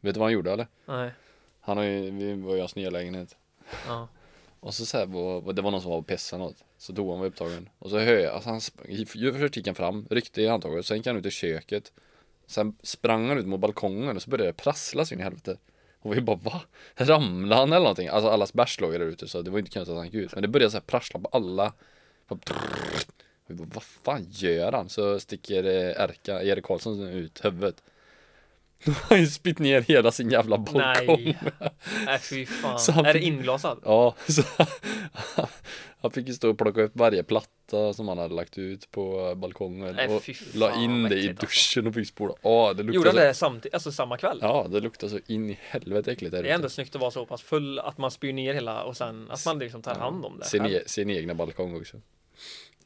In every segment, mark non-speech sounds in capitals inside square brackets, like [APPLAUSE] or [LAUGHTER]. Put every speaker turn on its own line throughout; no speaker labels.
Vet du vad han gjorde eller?
Nej.
Han har ju, vi var i hans nya lägenhet.
Ja.
Och så, så här var, var- det var någon som var och pessade något. Så tog han var upptagen. Och så hör jag, alltså han sprang, först gick han fram, ryckte i handtaget, sen gick han ut i köket. Sen sprang han ut mot balkongen och så började det prassla så in i helvete. Och vi bara va? Ramlade han eller någonting? Alltså allas bärs låg ju där ute så det var inte konstigt att han gick ut. Men det började så här prassla på alla. Och vi bara, vad fan gör han? Så sticker eh, Erka, Erik Karlsson ut huvudet. [LAUGHS] Då har han ju spytt ner hela sin jävla balkong.
Nej. Nej fy fan.
Så han
Är det
fick-
inglasad?
Ja, [LAUGHS] så han fick ju stå och plocka upp varje platta som han hade lagt ut på balkongen
Nej,
och
fy fan,
la in
vad
det i
äckligt, alltså.
duschen och fick spola. Ja, det
Gjorde
luktade
han
så,
det samtidigt, alltså samma kväll?
ja, det luktade så in i helvete äckligt där
Det är ändå
ute.
snyggt att vara så pass full att man spyr ner hela och sen att man liksom tar hand om det.
Sin,
själv.
e, sin egna balkong också.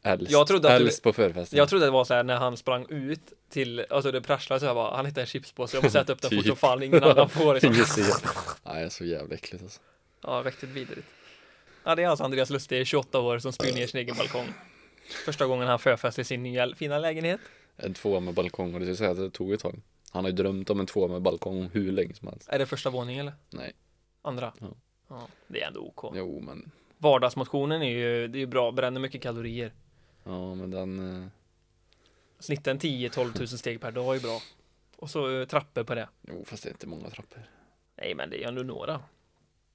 Äldst,
Jag trodde att du-
äldst på förfesten.
Jag trodde det var så här när han sprang ut till, alltså det prasslade så jag bara, han hittade en chipspåse, jag måste äta upp den fort
Typ.
som fan innan
[LAUGHS]
han får liksom.
Ingen ser. Nej, det är så jävla äckligt alltså.
Ja, riktigt vidrigt. Ja, det är alltså Andreas Lustig, 28 år, som spyr ner sin egen balkong. Första gången han förfest i sin nya fina lägenhet.
En tvåa med balkong och det ska säga att det tog ett tag. Han har ju drömt om en tvåa med balkong hur länge som helst.
Är det första våningen eller?
Nej,
Andra?
Ja.
Ja, det är ändå OK.
jo men,
Vardagsmotionen är ju, det är ju bra, bränner mycket kalorier.
ja men den, eh,
Snitta en 10-12 000 steg per dag är bra. Och så eh, trappor på det.
jo fast det är inte många trappor.
Nej, men det är ändå några.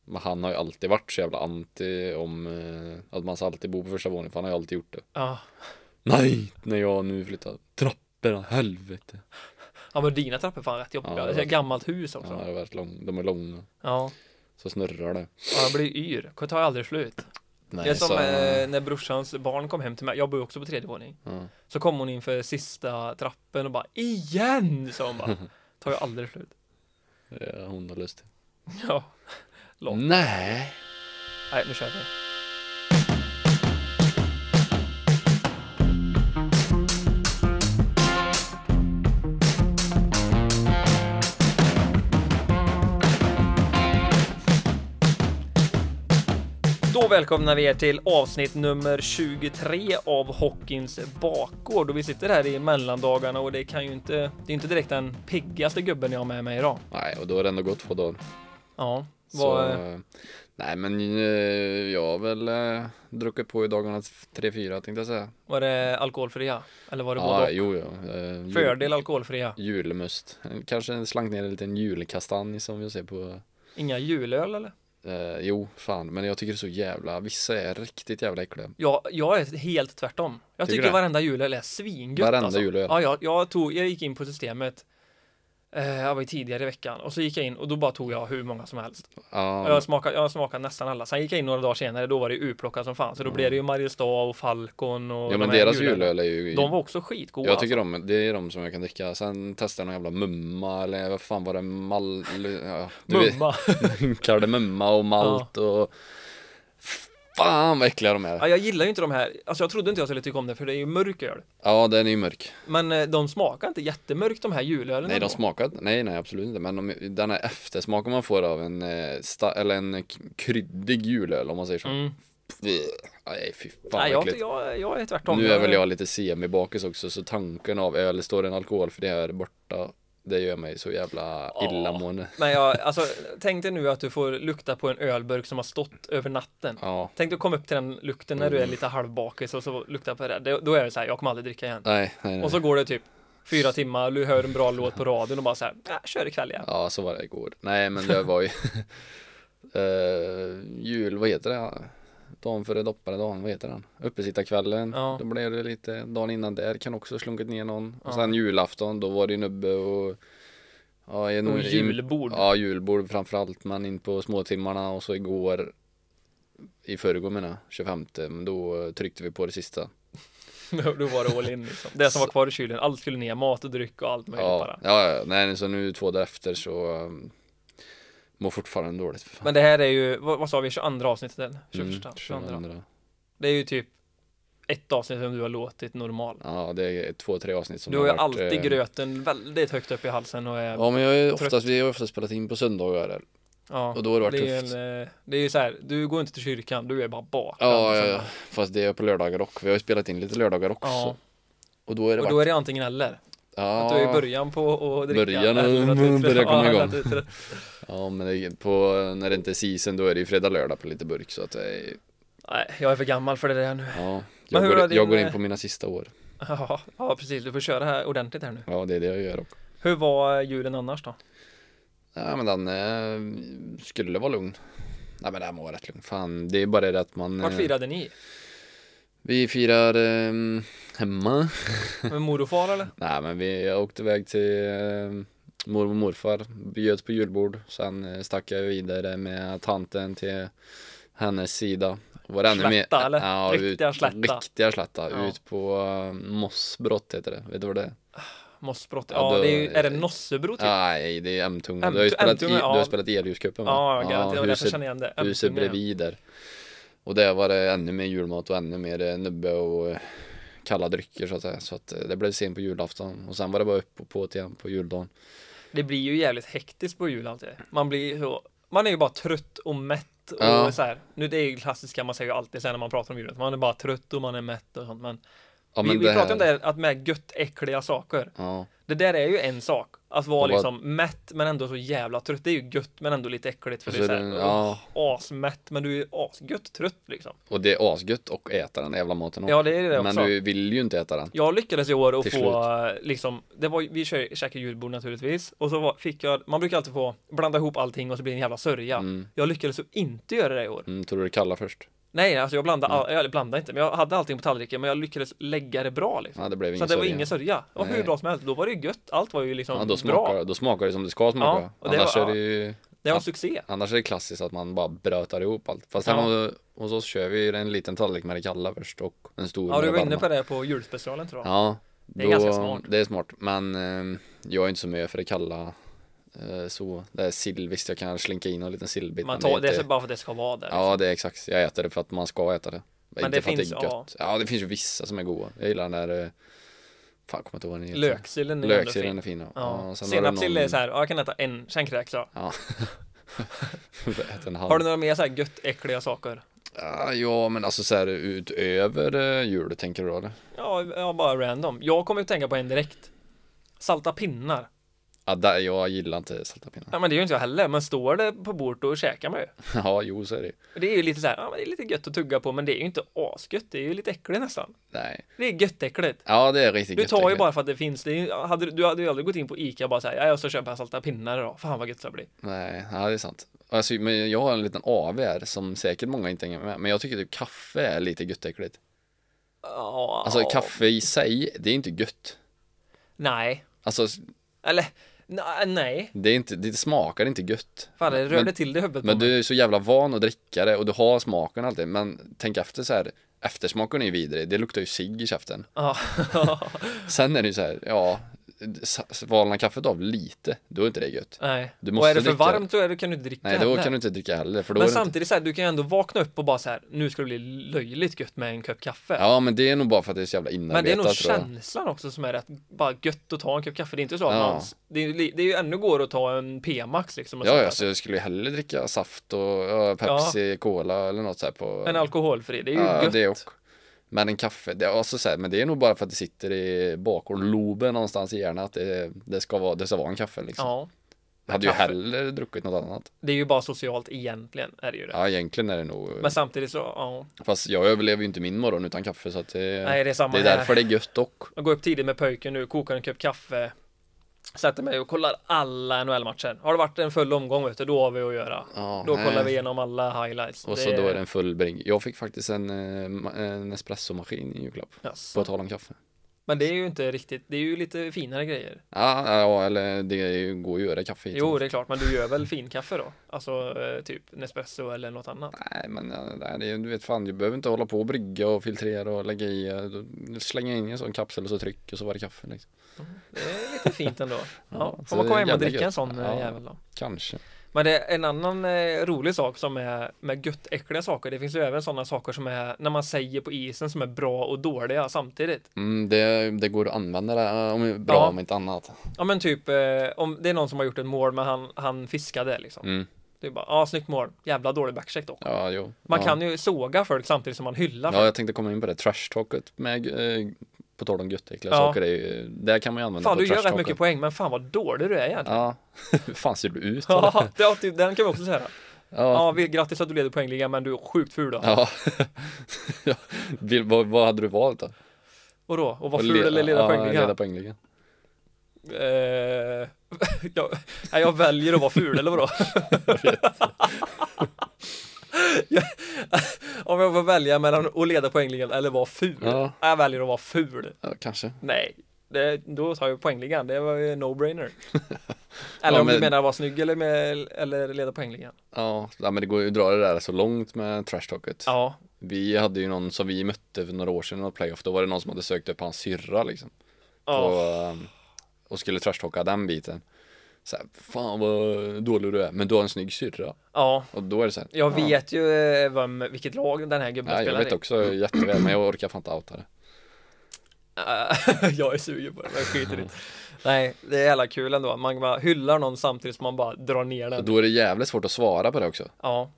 Men han har ju alltid varit så jävla anti om eh, att man ska alltid bo på första våningen för han har ju alltid gjort det.
Ja,
Nej, när jag nu flyttar. Trapporna, helvete.
ja men dina trappor är fan rätt jobbiga.
Ja, det
det är
var-
ett gammalt hus
Ja,
också.
de
Ja,
har varit lång, de är långa.
ja.
Så snurrar det.
jag blir yr. Det tar aldrig slut.
Nej,
det är som
så,
eh, när brorsans barn kom hem till mig. Jag bor ju också på tredje våning.
ja.
Så kom hon inför sista trappen och bara IGEN! sa hon [LAUGHS] bara. Tar ju aldrig slut.
det är hon har lust
Ja. [LAUGHS] Låt.
Nej.
Nej, nu kör vi. Då välkomnar vi er till avsnitt nummer 23 av Hockeyns bakgård och vi sitter här i mellandagarna och det kan ju inte. Det är inte direkt den piggaste gubben jag har med mig idag.
Nej, och då har det ändå gått två dagar.
Ja,
Så,
vad,
eh, nej men eh, jag har väl eh, druckit på i dagarna tre, fyra tänkte jag säga.
var det alkoholfria? Eller var det både
Ja, jo, ja. Eh, jul-
Fördel alkoholfria.
Julmust. Kanske en slank ner en liten julkastanj som vi ser på
Inga julöl eller?
Eh, jo, fan, men jag tycker det är så jävla, vissa är riktigt jävla äckliga.
Jag, jag är helt tvärtom. Jag
Tycker
tycker,
du?
varenda julöl är svingött.
Varenda
alltså.
julöl?
Ja, jag, jag, tog, jag gick in på systemet. Eh, jag var ju tidigare i veckan och så gick jag in och då bara tog jag hur många som helst.
Ja,
Jag, smakade, jag smakade nästan alla. Sen gick jag in några dagar senare. Då var det urplockat som fan. Så då blev det ju Mariestad och Falcon och
Mm. ja men
de här
deras
julölen.
julöl är ju,
De var alltså. också skitgoda.
jag tycker de, det är de som jag kan dricka. Sen testade jag någon jävla mumma eller vad fan var det, mall, ja, du vet,
Mumma.
[LAUGHS] kardemumma och malt och Fan vad äckliga de är!
ja, jag gillar ju inte de här. Alltså jag trodde inte jag skulle tycka om det för det är ju mörk öl.
Ja den är ju mörk.
Men eh, de smakar inte jättemörkt de här julölen.
Nej
ändå.
de smakar nej nej absolut inte men de, den här eftersmaken man får av en, eh, sta, eller en k- kryddig julöl om man säger så.
Mm.
Nej fy fan vad
Nej, jag,
äckligt.
jag, jag är tvärtom.
Nu är väl jag lite semibakis också så tanken av öl, står en alkohol för det här borta Det gör mig så jävla
Ja.
illamående
Men jag, alltså, tänk dig nu att du får lukta på en ölburk som har stått över natten.
Ja,
Tänk dig att komma upp till den lukten när du
Mm.
är lite halvbakis och så luktar på det. det. Då är det så här, jag kommer aldrig dricka igen.
nej, nej, nej.
Och så går det typ fyra timmar, du hör en bra låt på radion och bara så här, "Äh, kör ikväll igen.
Ja, så var det igår Nej men det
[LAUGHS]
var ju eh, Jul, vad heter det? Dagen före dopparedagen, vad heter den? Uppesittarkvällen,
Ja.
då blev det lite Dagen innan där kan också ha slunkit ner någon
Ja.
Och sen julafton, då var det ju nubbe och Ja, i-
Och
i-
julbord.
Ja, julbord framförallt, men in på småtimmarna och så igår i förrgår menar jag, 25, men då tryckte vi på det sista.
[LAUGHS] Då då var det all in liksom. Det som var kvar i kylen, allt skulle ner, mat och dryck och allt möjligt
Ja,
bara.
ja, ja, nej, så nu två dagar efter så um, mår fortfarande dåligt. För fan.
Men det här är ju, vad, vad sa vi, 22 avsnittet? eller? 21,
Mm,
22.
22.
Det är ju typ ett avsnitt som du har låtit normal.
Ja, det är två, tre avsnitt som
Du har ju
varit, eh,
alltid gröten väldigt högt upp i halsen och är
Ja, men jag är
trött.
oftast, vi har oftast spelat in på söndagar.
Ja,
Och då har det varit
är ju
tufft.
En, eh, det är ju så här, du går inte till kyrkan, du är bara liksom. bakfull.
Ja, ja, ja, fast det är på lördagar och vi har ju spelat in lite lördagar också.
Ja,
Och då är det
och
varit
då är det antingen eller.
Ja,
Att du är i början på att dricka.
Början,
eller att du är trött.
börjar komma
Ja,
igång.
att du är trött.
ja men det är på, när det inte är season då är det ju fredag, lördag på lite burk så att det är,
Nej, jag är för gammal för det där nu.
ja
Men
jag,
hur
går,
har din,
jag går in
eh,
på mina sista år
Ja, ja, precis. Du får köra här ordentligt här nu.
Ja det är det jag gör också
Hur var julen annars då?
Ja men den eh, skulle vara lugn Nej men den var rätt lugn, fan det är bara det att man
Vart
eh,
firade ni?
Vi firar eh, hemma
Med mor och far eller?
Nej men vi, jag åkte iväg till eh, mormor och morfar, bjöds på julbord. Sen eh, stack jag vidare med tanten till hennes sida. Och Var ännu mer-
Slätta, eller?
Ja,
Riktiga
ut,
slätta.
Riktiga slätta,
Ja.
ut på eh, Mossbrott heter det. Vet du vad det är?
Mossbrott?
Ja,
Ja,
då-
det är, ju, är det Nossebro typ? Ja,
Nej, det är Emtunga.
Ämt-
Du har ju spelat, i,
Ämtunga,
du
ja.
har spelat i Elljuscupen va?
ja garanterat. Det var därför jag
huset,
kände igen det.
huset
Ömtunga, ja.
bredvid där. Och där var det ännu mer julmat och ännu mer eh, nubbe och eh, kalla drycker så att säga. Så att eh, det blev sent på julafton. Och sen var det bara upp och på igen på juldagen.
Det blir ju jävligt hektiskt på jul alltid. Man blir så, man är ju bara trött och mätt och
Ja.
så här. Nu det är ju klassiska man säger ju alltid sen när man pratar om julen. Man är bara trött och man är mätt och sånt. Men,
Ja,
vi,
men
vi
det
pratar
här-
om det här att med gött äckliga saker.
Ja,
Det där är ju en sak. Att vara
Och vad-
liksom mätt men ändå så jävla trött. Det är ju gött men ändå lite äckligt för
och
det
så
är
är
så här,
den, Alltså, ja,
åh, asmätt men du är asgött trött liksom.
och det är asgött och äta den jävla maten också.
Ja det är det
Men
också.
du vill ju inte äta den.
Jag lyckades i år att
Till
få liksom, det var, vi kö- käkade julbord naturligtvis och så var, fick jag, man brukar alltid få blanda ihop allting och så blir det en jävla sörja.
Mm,
Jag lyckades att inte göra det i år.
mm, tror du det kallar först?
Nej, alltså jag blandade, all, eller blandade inte, men jag hade allting på tallriken men jag lyckades lägga det bra liksom.
Ja, det blev
Så
ingen
att det var
sörja.
ingen sörja. Det var hur
Nej.
bra som helst, då var det ju gött. Allt var ju liksom
Ja, då
bra.
smakar, då smakar det som det ska smaka.
Ja, och det
annars,
var-
är det ju,
Det var en
Ja.
succé.
annars är det klassiskt att man bara brötar ihop allt. Fast
Ja.
hemma hos oss kör vi en liten tallrik med det kalla först och en stor
Ja,
med
du
det
var inne
varma.
på det på julspecialen tror jag.
Ja,
Det är ganska smart.
Det är smart, men eh, jag är inte så mycket för det kalla. Eh, så, det är sill, visst jag kan slinka in en liten sillbit.
Man
men
tar, det
inte-
är så bara för att det ska vara där. liksom.
Ja det är exakt, jag äter det för att man ska äta det Men
det
Inte för
finns,
att det är gött ja. det finns ju vissa som är goda Jag gillar den där eh, Fan kommer inte ihåg vad den heter
Löksillen är ju ändå
Löksillen
fin.
är fin ja,
Ja.
ja sen var det
Senapssill
någon-
är så här, ja, jag kan äta en, sen kräks jag.
Ja [LAUGHS] Ät en halv
Har du några mer så här gött äckliga saker?
Ah, Ja men alltså så här utöver eh, jul tänker du då eller?
Ja, ja bara random. Jag kommer att tänka på en direkt. Salta pinnar.
Ja, Ah, där, jag gillar inte salta pinnar [LAUGHS]
Ja men det gör inte jag heller, men står det på bordet och käkar man ju.
Ja jo så är det ju.
Och Det är ju lite så här, ja men det är lite gött att tugga på men det är ju inte asgött, det är ju lite äckligt nästan.
Nej
Det är göttäckligt.
Ja det är riktigt
Du
gött,
tar ju
egentligen.
bara för att det finns, det är, ju- hade, du- du hade ju aldrig gått in på Ica och bara såhär, ja jag ska köpa salta pinnar idag, fan vad gött det blir.
Nej, ja, det är sant Alltså, men jag har en liten AV här som säkert många inte hänger med Men jag tycker typ kaffe är lite göttäckligt
Ja,
Alltså kaffe i sig, det är inte gött
Nej,
Alltså
eller na- nej,
Det, är inte, det smakar inte gött.
fan det rörde
men,
till det i huvudet på
men
mig.
du är så jävla van att dricka det och du har smaken alltid. Men tänk efter så här. Eftersmaken är ju vidrig. Det luktar ju cigg i käften.
Ja, [LAUGHS]
Sen är det ju så här, ja. s- Valna kaffet av lite. Då är inte det gött.
nej.
[LAUGHS] Du
och
måste
är det för
dricka det.
varmt då är det, kan du inte dricka
Nej, då
heller.
kan du inte dricka heller. För då är
Men
det inte...
samtidigt så här, du kan ju ändå vakna upp och bara så här, nu ska det bli löjligt gött med en kopp kaffe.
Ja, men det är nog bara för att det är så jävla
Men det är
inarbetat
nog
tror jag.
känslan också som är rätt bara gött att ta en kopp kaffe. Det är inte så att
Ja.
man, det är, ju li- det är ju ännu går att ta en P-Max liksom. och
Ja,
sånt
ja,
där.
så jag skulle ju hellre dricka saft och ja, Pepsi, Cola eller något så här på.
En alkoholfri, det är ju
ja,
gött.
det och. Men en kaffe, det, alltså så här, men det är nog bara för att det sitter i bakhållloben någonstans i hjärnan att det, det, ska vara, det ska vara en kaffe liksom.
Ja,
Jag hade ju
Kaffe.
hellre druckit något annat.
det är ju bara socialt egentligen är det ju det.
Ja, egentligen är det nog.
Men samtidigt så, ja.
Fast jag överlever ju inte min morgon utan kaffe så att det,
Nej, det är samma
det är
här.
därför det är gött dock.
Jag går upp tidigt med pöjken nu, kokar en kopp kaffe. Sätter mig och kollar alla NHL-matcher. Har det varit en full omgång vet du, då har vi att göra.
Ja,
Då
nej.
kollar vi igenom alla highlights.
Och så då är det en full bring. Jag fick faktiskt en, eh, ma- en espressomaskin i julklapp.
Jaså.
På tal om kaffe.
Men det är ju inte riktigt, det är ju lite finare grejer.
Ja, ja eller det är ju- går ju att göra kaffe i
Jo,
till.
det är klart, men du gör väl finkaffe då? Alltså eh, typ Nespresso eller något annat?
Nej men eh, nej, det, är- du vet fan du behöver inte hålla på och brygga och filtrera och lägga i. eh, du- Slänga in i en sån kapsel och så tryck och så var det kaffe liksom.
Det är lite
[LAUGHS]
fint ändå. Ja,
så
får man
det är
komma hem och
jävla
dricka en
gött.
sån ja.
Ja.
jävel då.
Kanske.
Men det är en annan eh, rolig sak som är med gött äckliga saker. Det finns ju även sådana saker som är när man säger på isen som är bra och dåliga samtidigt.
Mm, det, det går att använda det eh, om, bra
Ja.
om inte annat.
Ja men typ eh, om det är någon som har gjort ett mål men han, han fiskade liksom.
Mm.
Det är bara, ja snyggt mål, jävla dålig backcheck dock.
Ja, jo.
Man
ja.
kan ju såga folk samtidigt som man hyllar
Ja,
folk.
jag tänkte komma in på det. Trash talket med eh, På tal om göttäckliga
Ja.
saker, det är ju, där kan man ju använda
Fan du
på
gör rätt
trashtalken.
mycket poäng men fan vad dålig du är egentligen.
Ja, [LAUGHS] hur fan ser du ut?
[LAUGHS] Ja, det, ja, typ, den kan vi också säga.
Ja.
Ja, vi, grattis att du leder poängligan men du är sjukt ful då.
ja. [LAUGHS] Ja. Vill- vad, vad hade du valt då?
Och då? Och vara
Att
ful
le-
eller leda
ja,
poängligan?
Leda poängligan.
Eh, [LAUGHS] jag, nej, jag väljer att vara ful eller vadå? [LAUGHS] Jag- Om jag får välja mellan att leda poängligan eller vara ful.
Ja.
Jag väljer att vara ful.
Ja, kanske.
Nej, det, då tar jag poängligan. Det var
[LAUGHS]
ju no-brainer. Eller om du
men-
menar att vara snygg eller, med, eller leda poängligan.
Ja, ja, men det går ju att dra det där så långt med trashtalket.
Ja,
Vi hade ju någon som vi mötte för några år sedan i något playoff, då var det någon som hade sökt upp hans syrra liksom.
ja.
Och, um, och skulle trashtalka den biten. Så här, fan vad dålig du är, men du har en snygg syrra.
ja.
Och då är det så här,
Jag
ja.
vet ju eh, vem, vilket lag den här gubben
Ja, jag
spelar
vet
i.
också jätteväl, men jag orkar fan inte outa det.
Eh, [LAUGHS] jag är sugen på det, men skit i det. [LAUGHS] Nej, det är jävla kul ändå. Man bara hyllar någon samtidigt som man bara drar ner
Och
den.
då är det jävligt svårt att svara på det också.
Ja,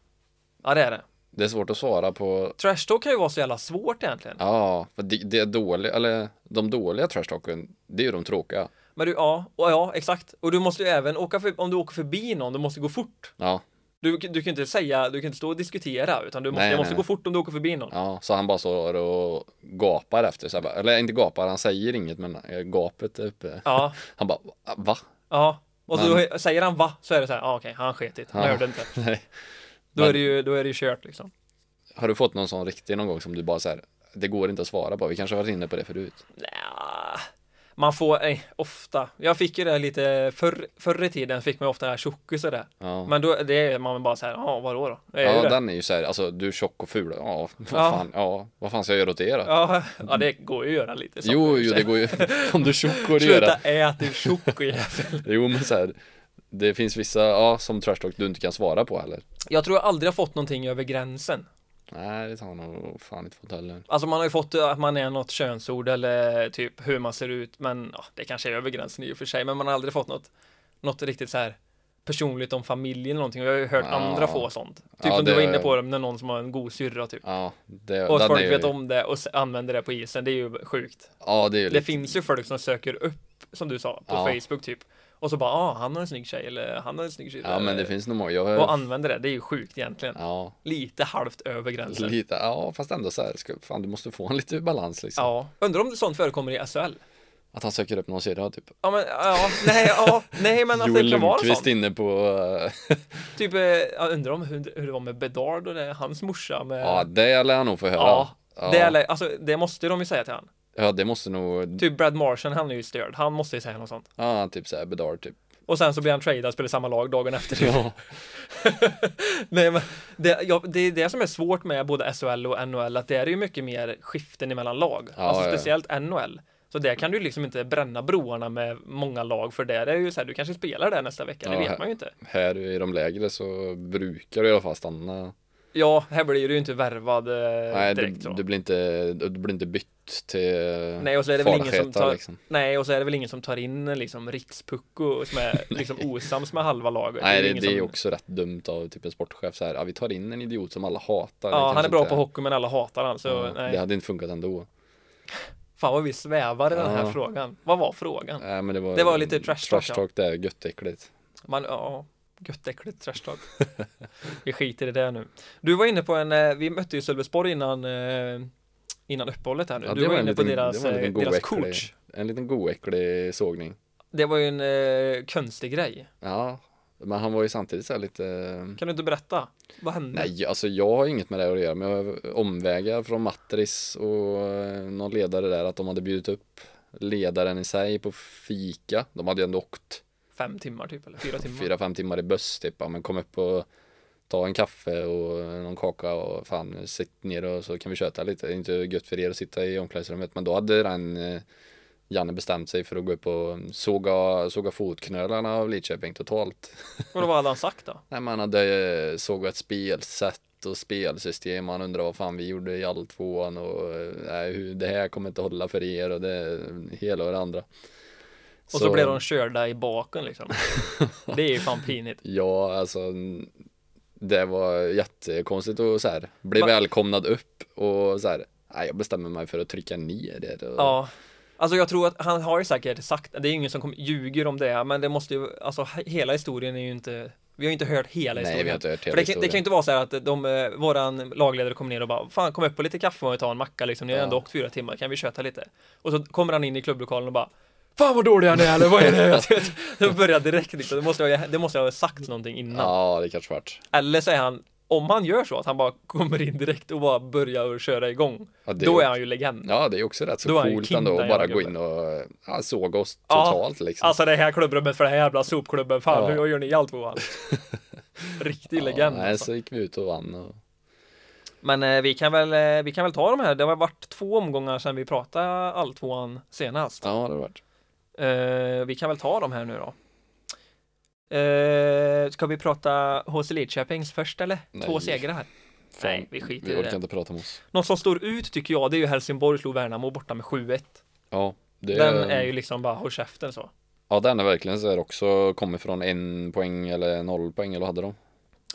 ja det är det.
Det är svårt att svara på,
Trash talk kan ju vara så jävla svårt egentligen.
ja, för det, det är dåliga, eller de dåliga trashtalken, det är ju de tråkiga.
Men du, ja, och ja, exakt. Och du måste ju även åka för, om du åker förbi någon, du måste gå fort.
Ja,
Du, du kan inte säga, du kan inte stå och diskutera, utan du måste,
Nej,
jag
nej,
måste
nej.
gå fort om du åker förbi någon.
ja, så han bara står och gapar efter, så här, bara- eller inte gapar, han säger inget, men eh, gapet är uppe.
Ja,
Han bara, "Va? va? [LAUGHS]
ja. Och så då säger han va, så är det så här, ah, okej, han sket i det, han
Ja.
hörde inte.
Nej.
Då är det ju, då är det ju kört liksom.
Har du fått någon sån riktig någon gång som du bara så här, det går inte att svara på, vi kanske har varit inne på det förut.
Nja, man får, nej, ofta. Jag fick ju det lite, förr, förr i tiden fick man ofta den här tjockis och det.
Ja.
Men då, det är man bara så här, ja vadå då? Det är ju
Ja,
det.
den är ju så här, alltså du är tjock och ful, ja, vad
Ja.
fan, ja, vad fan ska jag göra åt det då?
Ja, ja, det går ju att göra lite så.
Jo, jo, det går ju, [LAUGHS] om du är tjock går det att göra.
Sluta ät din tjockojävel.
Jo men så här, Det finns vissa, ja som trash talk du inte kan svara på heller
Jag tror jag aldrig har fått någonting över gränsen.
Nej det har han nog fan inte fått heller
Alltså man har ju fått att man är något könsord eller typ hur man ser ut, men ja, det kanske är över gränsen i och för sig, men man har aldrig fått något, något riktigt så här personligt om familjen eller någonting. Jag har ju hört
Ja.
andra få sånt. Typ
Ja,
som du
det-
var inne på, det, när någon som har en god syrra typ.
Ja, det,
Och att
den
folk
är ju,
vet om det och s- använder det på isen, det är ju sjukt.
Ja det är ju
Det
lite,
finns ju folk som söker upp, som du sa, på
Ja.
Facebook typ. Och så bara, ah, han har en snygg tjej eller han har en snygg tjej. eh,
Ja men det finns nog många, jag
Och
har
använder det, det är ju sjukt egentligen.
Ja,
Lite halvt över gränsen.
lite, ja fast ändå så här, ska, fan du måste få en lite balans liksom
Ja, undrar om sånt förekommer i SHL?
Att han söker upp någon syrra typ
Ja men,
[LAUGHS]
ja, nej, ja, nej men att det
Joel
kan vara sånt.
Lundqvist inne på, eh,
Typ, eh, jag undrar om hur, hur det var med Bedard och det, hans morsa med...
ja det lär han nog få höra
Eh, Ja,
ja,
Det, eller, alltså, det måste de ju säga till han.
ja, det måste nog,
Typ Brad Martian, han är ju störd, han måste ju säga något sånt.
ja typ såhär bedar
[LAUGHS]
typ
Och sen så blir han tradad och spelar i samma lag dagen efter. typ.
Ja,
[LAUGHS] Nej, men det, ja, det är det som är svårt med både SHL och NHL, att det är ju mycket mer skiften emellan lag.
Ja,
alltså
ja, ja.
speciellt NHL. Så där kan du liksom inte bränna broarna med många lag, för där är ju så här, du kanske spelar där nästa vecka, det
Ja,
vet
här-
man ju inte.
här i de lägre så brukar du i alla fall stanna
Ja, här blir du ju inte värvad eh,
Nej, du,
direkt så.
du, blir inte, du blir inte bytt till
Nej, och så är det väl ingen som
Farseta,
tar-
liksom.
Nej, och så är det väl ingen som tar in en liksom rikspucko
[LAUGHS]
som är liksom osams med halva laget.
Nej,
ju
det,
ingen
det är
som...
också rätt dumt av typ en sportchef så här. Ja, vi tar in en idiot som alla hatar. Det
Ja, han
kanske
är bra
inte-
på hockey men alla hatar han, så
Ja,
nej.
Det hade inte funkat ändå.
Fan vad vi svävar i den här
Ja.
frågan. Vad var frågan?
Nej, men det var,
Det var lite trash talk, ja.
Trash talk där, göttäckligt.
Man, ja, gött äckligt trash
[LAUGHS]
talk. Vi skiter i det nu. Du var inne på en, eh, vi mötte ju Sölvesborg innan, eh, innan uppehållet här nu.
Ja,
du
det
var,
var en
inne på
liten-
deras,
det var en
eh,
liten
deras
goäcklig-
coach.
En liten goäcklig sågning.
Det var ju en eh, konstig grej.
Ja, men han var ju samtidigt så här lite
Kan du inte berätta? Vad hände?
Nej, alltså jag har inget med det här att göra, men jag har omvägar från Matris och eh, någon ledare där att de hade bjudit upp ledaren i sig på fika. De hade ju ändå åkt
Fem timmar typ,
[LAUGHS]
eller fyra timmar?
fyra, fem timmar i buss typ, ja, men kom upp och ta en kaffe och någon kaka och fan sitt ner och så kan vi köta lite. Det är inte gött för er att sitta i omklädningsrummet, men då hade den eh, Janne bestämt sig för att gå upp och såga, såga fotknölarna av Lidköping totalt.
Och då vad hade han sagt då?
Nej, man hade eh, sågat spelsätt och spelsystem, man undrar vad fan vi gjorde i all tvåan och eh, nej, hur- det här kommer inte hålla för er och det hela och det andra.
Och så, blev de körda i
[LAUGHS]
baken liksom. Det är ju fan pinigt.
Ja, alltså n- det var jättekonstigt att så här, bli
Va-
välkomnad upp och så här, Nej, jag bestämmer mig för att trycka ner det. Och...
Ja. Alltså jag tror att han har ju säkert sagt, det är ju ingen som kommer, ljuger om det, men det måste ju, alltså he- hela historien är ju inte vi har ju inte hört hela
Nej,
historien.
vi har inte hört
För
hela
det, kan, det kan
historien.
ju inte vara så här att de, eh, våran lagledare kommer ner och bara Fan kom upp på lite kaffe och ta en macka liksom, ni har
Ja.
ändå åkt fyra timmar, kan vi köta lite? Och så kommer han in i klubblokalen och bara Fan vad dålig han är eller vad är
[LAUGHS]
det? [LAUGHS] Då börjar direkt liksom, det måste, jag, det måste jag ha sagt någonting innan
Ja, det kanske vart.
Eller så är han, om han gör så att han bara kommer in direkt och bara börjar köra igång
Ja, det-
Då är han ju legend
Ja, det är också rätt så
Då är han
coolt
king
ändå
där
att bara
jävla
gå in och ja, såga oss
Ja,
totalt liksom.
Alltså det här klubbrummet för den här jävla sopklubben, fan
Ja.
hur gör ni
[LAUGHS]
allt tvåan? Riktig legend
Nej,
alltså.
så gick vi ut och vann och...
Men eh, vi, kan väl, eh, vi kan väl ta de här, det har varit två omgångar sedan vi pratade alltvåan senast.
Ja, det vart.
Eh, vi kan väl ta de här nu då. Eh, ska vi prata HC Lidköpings först eller?
Nej.
Två segrar.
Fan,
Nej, vi skiter i
Vi
det.
orkar inte prata om oss.
Något som står ut tycker jag, det är ju Helsingborg slog Värnamo borta med 7-1.
Ja, det...
Den är ju liksom bara, håll käften så.
Ja, den är verkligen så här också. Kommer från en poäng eller noll poäng eller vad hade de?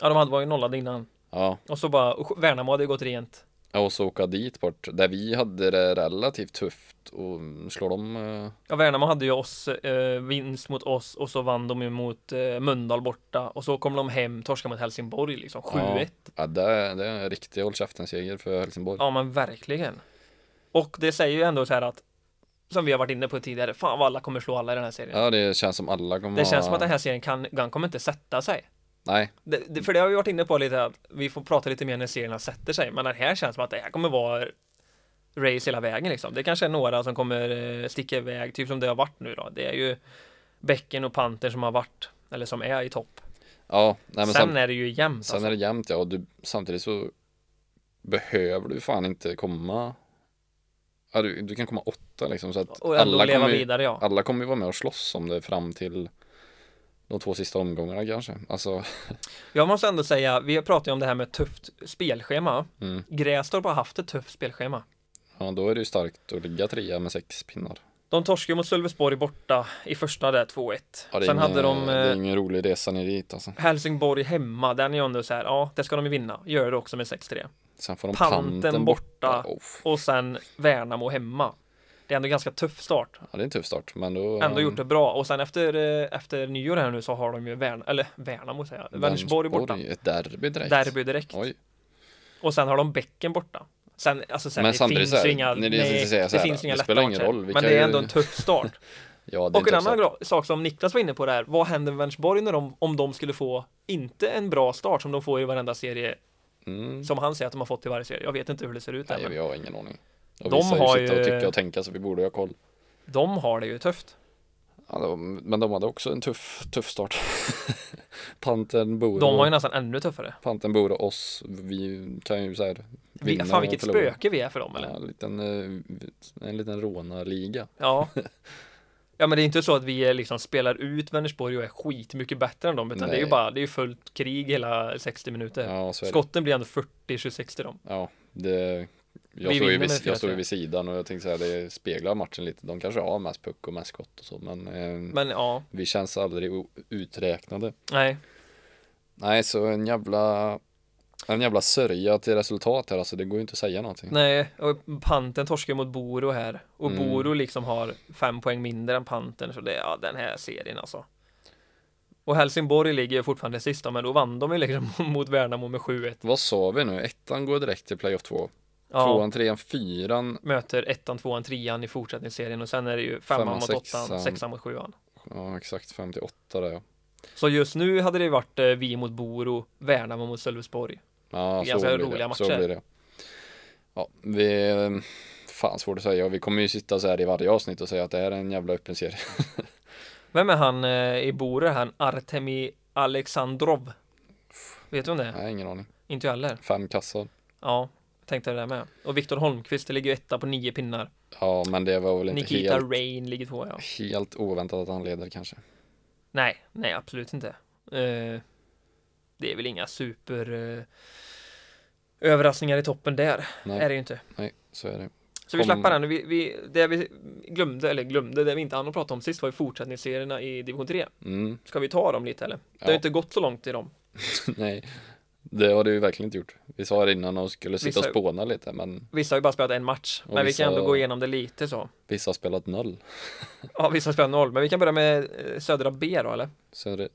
Ja, de hade varit nollade innan.
Ja,
Och så bara, och Värnamo hade ju gått rent.
Ja, och så åka dit bort där vi hade det relativt tufft och slår dem. eh,
Ja, Värnamo hade ju oss, eh, vinst mot oss och så vann de ju mot eh, Mölndal borta och så kom de hem, torska mot Helsingborg liksom, 7-1. Ja.
Ja, det, är- det är en riktig håll käften-seger för Helsingborg.
men verkligen. Och det säger ju ändå så här att, som vi har varit inne på tidigare, fan vad alla kommer slå alla i den här serien.
Ja, det känns som alla kommer
Det känns
ha-
som att den här serien kan, den kommer inte sätta sig.
Nej,
Det, det, för det har vi varit inne på lite att vi får prata lite mer när serierna sätter sig, men den här känns som att det här kommer vara race hela vägen liksom. Det kanske är några som kommer eh, sticka iväg, typ som det har varit nu då. Det är ju Bäcken och Panter som har varit, eller som är i topp.
ja, nej men
sen,
sen,
är det ju jämnt
sen
alltså.
är det jämnt ja och du, samtidigt så behöver du fan inte komma. Ja, du, du kan komma åtta liksom så att
Och ändå
alla
leva
kommer, ju,
vidare ja.
alla kommer ju vara med och slåss om det fram till de två sista omgångarna kanske. Alltså,
Jag måste ändå säga, vi pratar ju om det här med tufft spelschema.
mm.
Grästorp har haft ett tufft spelschema.
ja, då är det ju starkt att ligga trea med sex pinnar.
De torskade mot Sölvesborg borta i första där 2-1.
Ja, det är
Sen
ingen,
hade de
det är
eh,
ingen rolig resa ner dit alltså.
Helsingborg hemma, den är ju ändå så här, ja, det ska de ju vinna. Gör det också med 6-3.
Sen får de
Panten
panten, oh,
borta.
borta.
Och sen Värnamo hemma. Det är ändå ganska tuff start.
Ja, det är en tuff start, men då...
Ändå gjort det bra. Och sen efter, eh, efter nyår här nu så har de ju Värn, eller Värnamo säger jag, Vänersborg borta.
Ett derby direkt.
Derby direkt.
Oj.
Och sen har de bäcken borta. Sen, alltså, sen,
Men
det
samtidigt
finns
så här,
ju inga,
när
nej,
det-
det,
så att säga så här,
finns ju inga
det
lätta
spelar ingen
matcher.
roll, vi
Men
kan
det är
ju-
ändå en tuff start.
Ja, det är typ
Och en
tuff
annan
start.
gra- sak som Niklas var inne på där, vad händer med Vänersborg när de, om de skulle få, inte en bra start som de får i varenda serie,
Mm.
som han säger att de har fått i varje serie. Jag vet inte hur det ser ut där,
Nej,
men
vi har ingen aning. Och
De
de vissa
har
har ju sitta
ju-
och tycka och tänka, så vi borde ju ha koll.
de har det ju tufft.
Ja, de, men de hade också en tuff, tuff start. [LAUGHS] panten bor
De har ju nästan ännu tuffare.
Panten bor och oss. Vi kan ju så här
Vi,
vinna
fan
och
vilket
förlora.
spöke vi är för dem
Ja,
eller?
en liten, eh, en liten rånarliga. [LAUGHS]
Ja. Ja men det är inte så att vi eh, liksom spelar ut Vänersborg och är skitmycket bättre än dem utan det är ju
Nej.
bara, det är ju fullt krig hela 60 minuter.
Ja, så är det.
Skotten blir ändå 40-26 till dem.
Ja, det... Jag står,
Vi
ju
vinner
vid,
med
jag står
4-3.
ju vid sidan och jag tänkte säga det speglar matchen lite. De kanske har mest puck och mest skott och så, men, eh,
Men ja,
vi känns aldrig o- uträknade.
nej.
Nej, så en jävla en jävla sörja till resultat här alltså, det går ju inte att säga någonting.
Nej, och Panten torskar mot Boro här. Och
Mm.
Boro liksom har fem poäng mindre än Panten så det är ja, den här serien alltså. Och Helsingborg ligger ju fortfarande sista men då vann de ju liksom [LAUGHS] mot Värnamo med 7-1.
Vad sa vi nu? Ettan går direkt till playoff två.
Ja,
Tvåan, trean, fyran.
möter ettan, tvåan, trean i fortsättningsserien och sen är det ju femman
Femman,
mot åttan,
sexan.
sexan mot sjuan.
Ja, exakt fem till åtta där ja.
Så just nu hade det varit eh, vi mot Boro, Värnamo mot Sölvesborg.
ja så
Ganska
blir
roliga
det. Så
matcher.
blir det. Ja, vi... eh, Fan svårt att säga. Vi kommer ju sitta så här i varje avsnitt och säga att det här är en jävla öppen serie.
Vem är han eh, i Boro? Han Artemi Alexandrov. Vet du om det är?
Nej, ingen aning.
Inte jag heller.
Fem kassar.
Ja, tänkte det där med. Och Viktor Holmqvist det ligger ju etta på nio pinnar.
Ja, men det var väl inte
Nikita
helt,
Rain ligger tvåa. Ja.
helt oväntat att han leder kanske.
Nej, nej absolut inte. Eh, det är väl inga super eh, överraskningar i toppen där.
Nej.
Är det ju inte.
Nej, så är det.
Så vi
Kom-
släpper den. Vi, vi, det vi glömde, eller glömde, det vi inte hann att prata om sist var ju fortsättningsserierna i division 3.
Mm, [LAUGHS]
Ska vi ta dem lite eller? Det har
Ja.
ju inte gått så långt i dem.
nej. Det har det ju verkligen inte gjort. Vi sa det innan och skulle sitta och
Vissa-
spåna lite men
Vissa har ju bara spelat en match,
Och
men vi
vissa-
kan ändå gå igenom det lite så.
vissa har spelat noll.
Ja, vissa har spelat noll, men vi kan börja med eh, södra B då eller?
Så det,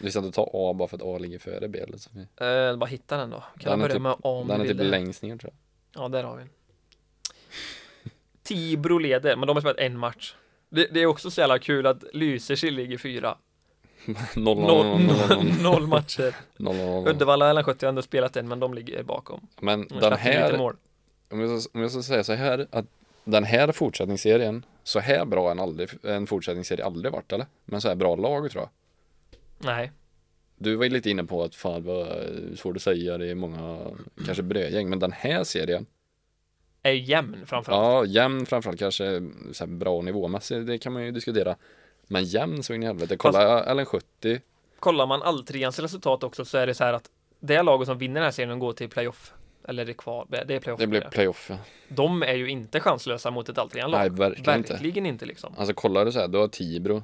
vi ska inte ta A bara för att A ligger före B. Liksom. Vi-
Eh, bara hitta den då. Kan
Den
vi
är
börja
typ-
med A om
Den
du
är
vill
typ
det?
längst ner tror jag.
Ja, där har vi den. Tibro leder, men de har spelat en match. Det, det är också så jävla kul att Lysekil ligger fyra.
[LAUGHS] Noll, noll,
Noll,
noll, noll, noll,
noll, [LAUGHS] noll matcher.
noll, noll, noll.
Uddevalla och LN70 har ändå spelat en, men de ligger bakom.
Men den
De släppte in lite
här,
mål.
om jag, ska- om jag ska säga så här att den här fortsättningsserien, så här bra har en, aldrig, en fortsättningsserie aldrig varit eller? Men så här bra lag tror jag.
Nej,
Du var ju lite inne på att fan vad eh, svårt att säga, det är många kanske brödgäng, men den här serien
är ju jämn framförallt.
Ja, jämn framförallt kanske eh, så här bra nivåmässigt, det kan man ju diskutera. Men jämn så in i helvete. Kolla LN70.
Kollar man alltreans resultat också så är det så här att det laget som vinner den här serien går till playoff. Eller det är kvar, det är playoff.
Det blir playoff. ja.
De är ju inte chanslösa mot ett
Nej,
alltrian-lag.
verkligen inte.
Verkligen inte liksom.
Alltså kollar du så här, du har Tibro.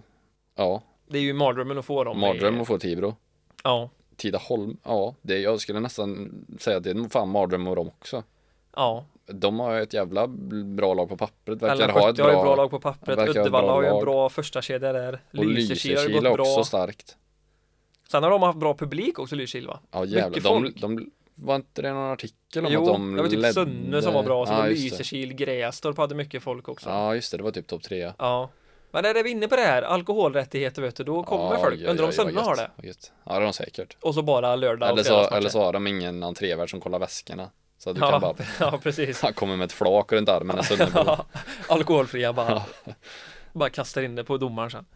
Ja,
Det är ju mardrömmen att få dem. i-
mardröm att få Tibro.
Ja,
Tidaholm, ja, det, jag skulle nästan säga att det är fan mardröm och dem också.
ja.
De har ju ett jävla bra lag på pappret, verkar
Alla
ha ett
70 har ju bra
bra...
lag på pappret,
verkar ha ett
Uddevalla
bra
har ju en
lag.
bra första kedja där
Och
Lysekil har ju
Lysekil
gått
också
bra
starkt.
Sen har de haft bra publik också Lysekil va?
Ja jävlar,
Mycket
de,
folk.
de, var inte det någon artikel om
Jo,
att de
det var typ
ledde-
Sunne som var bra, sen
ja,
var
just det.
Lysekil, Grästorp hade mycket folk också Ja,
Ja just det, det var typ topp tre.
Men är det vi inne på det här, alkoholrättigheter vet du, då kommer
Ja,
folk
ja,
Undrar om
ja, ja,
Sunne
gött,
har det?
gött. Ja, det har de säkert.
Och så bara lördag
Eller
och
så,
fredagsmatcher
eller så har de ingen entrévärd som kollar väskorna. Så att du kan
ja,
bara,
[LAUGHS] ja,
[LAUGHS]
precis
han kommer med ett flak runt armen när
[LAUGHS]
Sunnebo.
Ja, Alkoholfria bara Bara kastar in det på domaren sen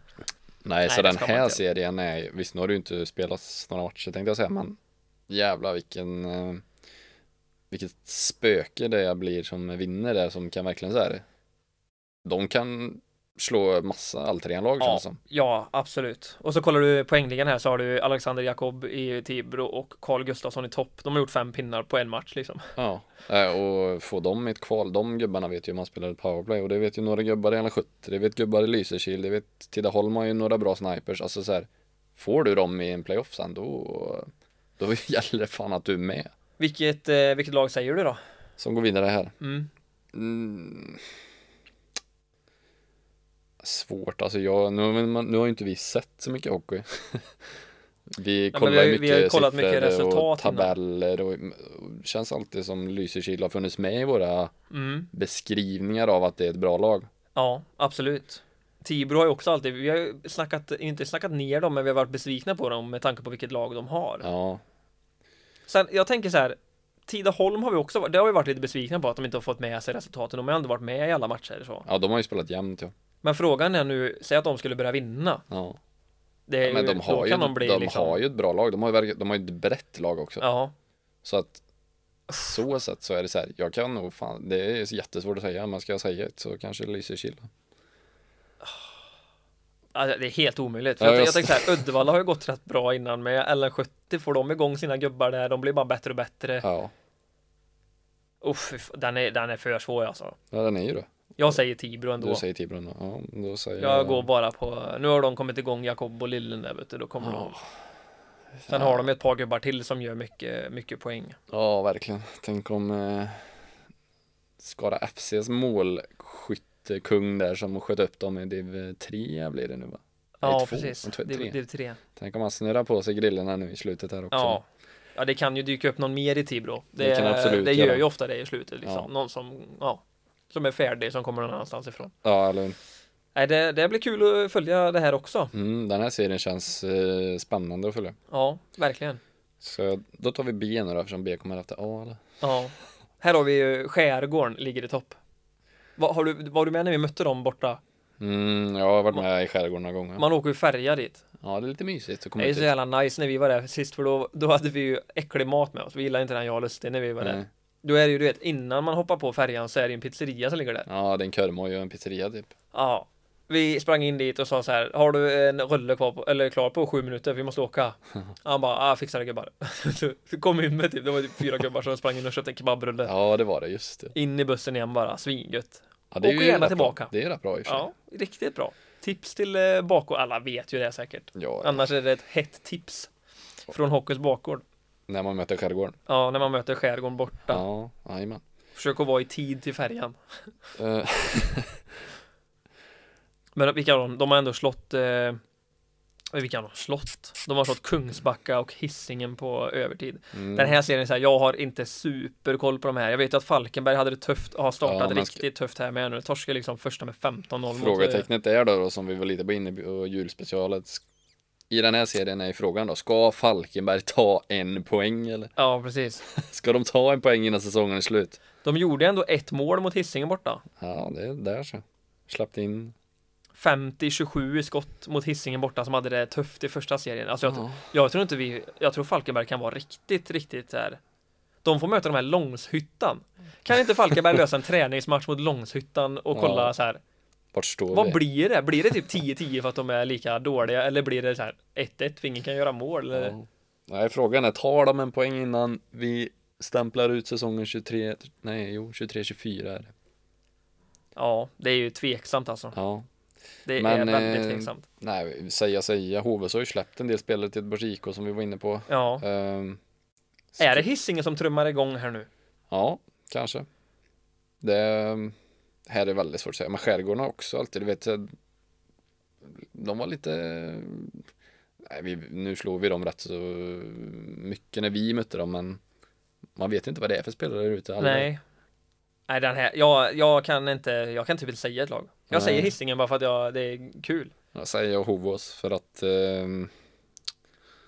Nej, så
det
den
ska man
här
inte
serien är, visst nu har det ju inte spelats några matcher tänkte jag säga, men jävlar vilken, eh, vilket spöke det blir som vinner där som kan verkligen så här. De kan slå massa alltrian-lag
Ja.
känns som.
Ja, absolut. Och så kollar du poängligan här så har du Alexander Jakob i Tibro och Carl Gustafsson i topp. De har gjort fem pinnar på en match liksom.
Ja, eh, och få dem i ett kval, de gubbarna vet ju hur man spelar ett powerplay och det vet ju några gubbar i alla 70, det vet gubbar i Lysekil, det vet Tidaholm har ju några bra snipers, alltså så här, får du dem i en playoff sen då, då [LAUGHS] gäller det fan att du är med
Vilket, eh, vilket lag säger du då?
som går vidare här.
Mm.
Mm. Svårt, alltså jag, nu, har vi- nu har ju inte vi sett så mycket hockey. [LAUGHS] vi
men
kollar
vi har ju-
mycket
vi har ju kollat
siffror
mycket
och
resultat innan.
tabeller och, och känns alltid som Lysekil har funnits med i våra
Mm.
beskrivningar av att det är ett bra lag.
Ja, absolut. Tibro har ju också alltid, vi har ju snackat, inte snackat ner dem, men vi har varit besvikna på dem med tanke på vilket lag de har.
Ja,
Sen, jag tänker så här, Tidaholm har vi också varit, det har vi varit lite besvikna på att de inte har fått med sig resultaten. De har ju ändå varit med i alla matcher så.
ja de har ju spelat jämnt ja.
Men frågan är nu, säg att de skulle börja vinna.
ja.
Det är
Men
ju,
de har,
då
ju,
kan
de,
de bli liksom,
har ju ett bra lag, de har ju, verk- de har ju ett brett lag också.
Ja,
Så att så sätt så är det så här, jag kan nog fan, det är jättesvårt att säga, men ska jag säga ett så kanske Lysekil.
Alltså, det är helt omöjligt. För
Ja,
jag, jag,
jag-
tänker så här, Uddevalla har ju gått rätt bra innan med LN70 får de igång sina gubbar där, de blir bara bättre och bättre.
Ja,
Uff, fy fan, den, är, den är för svår alltså.
ja den är ju det.
Jag säger Tibro ändå.
Du säger eh, Tibro nu. ja, då säger
Jag går bara på, nu har de kommit igång, Jakob och Lillen där vet du, då kommer de.
Ja,
Sen har de ett par gubbar till som gör mycket, mycket poäng.
ja verkligen. Tänk om eh, Skara FCs målskyttekung där som sköt upp dem i div 3 blir det nu va? Nej,
Ja,
två.
precis.
Och två-
Det
tre.
är, det är tre.
Tänk om han snurrar på sig grillorna nu i slutet här också.
Ja. ja, det kan ju dyka upp någon mer i Tibro. Det,
Det kan absolut
det gör
göra.
ju ofta det i slutet liksom.
Ja.
Någon som, ja, som är färdig, som kommer någon annanstans ifrån.
Ja, eller
Nej, det, det blir kul att följa det här också.
mm, Den här serien känns eh, spännande att följa.
Ja, verkligen.
Så då tar vi B nu då eftersom B kommer efter A eller?
Ja. Här har vi ju Skärgården ligger i topp. Vad har du, var du med när vi mötte dem borta?
Mm, jag har varit med i skärgården några gånger.
Man åker ju färja dit.
Ja, det är lite mysigt att komma
Det är
ut
så
dit.
jävla nice när vi var där sist för då, då hade vi ju äcklig mat med oss. Vi gillade inte den jag och Lustig när vi var där.
Nej.
Då är det ju du vet innan man hoppar på färjan så är det ju en pizzeria som ligger där.
Ja, det är en körmoj och en pizzeria typ.
Ja. Vi sprang in dit och sa så här Har du en rulle kvar på, eller klar på sju minuter? Vi
[LAUGHS]
måste åka. Han bara, ah, fixa det gubbar. [LAUGHS] så, så kom vi in med typ, det var typ fyra gubbar som sprang in och köpte en kebabrulle.
Ja, det var det, just det.
In i bussen igen bara, svingött.
Ja, det är
Åk
ju
gärna
rätt bra.
tillbaka.
Det är rätt bra i och för sig.
Ja, riktigt bra. Tips till eh, bakgård. Alla vet ju det säkert.
Ja,
Annars är det ett hett tips från Hockeys bakgård.
När man möter skärgården
Ja, när man möter skärgården borta.
Ja, jajamän
Försök att vara i tid till färjan.
Eh,
Men vilka har de? De har ändå slått eh, vilka har de slått? De har slått Kungsbacka och Hissingen på övertid.
mm.
Den här serien, så här, jag har inte superkoll på de här. Jag vet ju att Falkenberg hade det tufft, har
Ja,
startat
men-
riktigt tufft här med nu. Torskar liksom första med 15-0 mot...
Frågetecknet är då, då som vi var lite på inne på julspecialet I den här serien är ju frågan då Ska Falkenberg ta en poäng eller? [LAUGHS]
Ja, precis.
Ska de ta en poäng innan säsongen är slut?
De gjorde ändå ett mål mot Hissingen borta.
Ja, det är där så Släppte in
50-27 i skott mot Hissingen borta som hade det tufft i första serien. Alltså jag, jag tror inte vi, jag tror Falkenberg kan vara riktigt, riktigt så här. De får möta de här Långshyttan. Kan inte Falkenberg lösa en träningsmatch mot Långshyttan och kolla
Ja.
så här.
Vart står
Vad
vi?
blir det? Blir det typ 10-10 för att de är lika dåliga? Eller blir det så här 1-1 för ingen kan göra mål? Eller?
Ja. Nej, frågan är, tar de en poäng innan vi stämplar ut säsongen 23, nej jo, 23-24 är det.
Ja, det är ju tveksamt alltså.
Ja.
Det är
Men,
väldigt
eh,
tveksamt.
Nej, säga säga, HVs har ju släppt en del spelare till Göteborgs IK som vi var inne på.
Ja.
Ehm,
Är det Hisingen som trummar igång här nu?
Ja, kanske. Det här är väldigt svårt att säga, men skärgården har också alltid, du vet, eh, de var lite, nej, vi, nu slog vi dem rätt så mycket när vi mötte dem, men man vet inte vad det är för spelare där ute. alla.
Nej. Nej, den här, jag, jag kan inte, jag kan typ inte säga ett lag. Jag
Nej.
säger Hisingen bara för att jag, det är kul.
Jag säger Hovås för att ehm,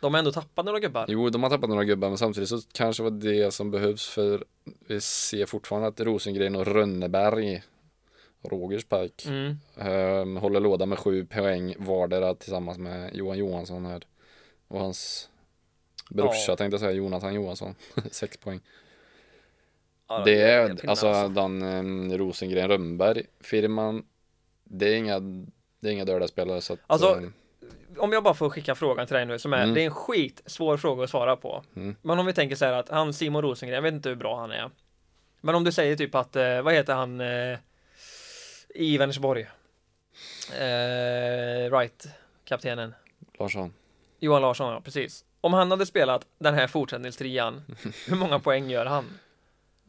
De har ändå tappat några gubbar.
Jo, de har tappat några gubbar men samtidigt så kanske var det som behövs för vi ser fortfarande att Rosengren och Rönneberg Rogers Park
Mm.
ehm, håller låda med sju poäng vardera tillsammans med Johan Johansson här och hans brorsa
Ja.
tänkte jag säga Jonathan Johansson [LAUGHS] sex poäng
Ja,
det
en
är
pinne,
alltså den Rosengren Rönnberg firman det är inga det är inga döda spelare så att
Alltså,
ehm,
Om jag bara får skicka frågan till dig nu som är,
Mm.
det är en skitsvår fråga att svara på.
Mm.
Men om vi tänker så här att han Simon Rosengren, jag vet inte hur bra han är. Men om du säger typ att, eh, vad heter han eh, i Vänersborg? Eh, right, kaptenen.
Larsson
Johan Larsson, ja precis. Om han hade spelat den
[LAUGHS]
här fortsättningstrian, hur många poäng gör han?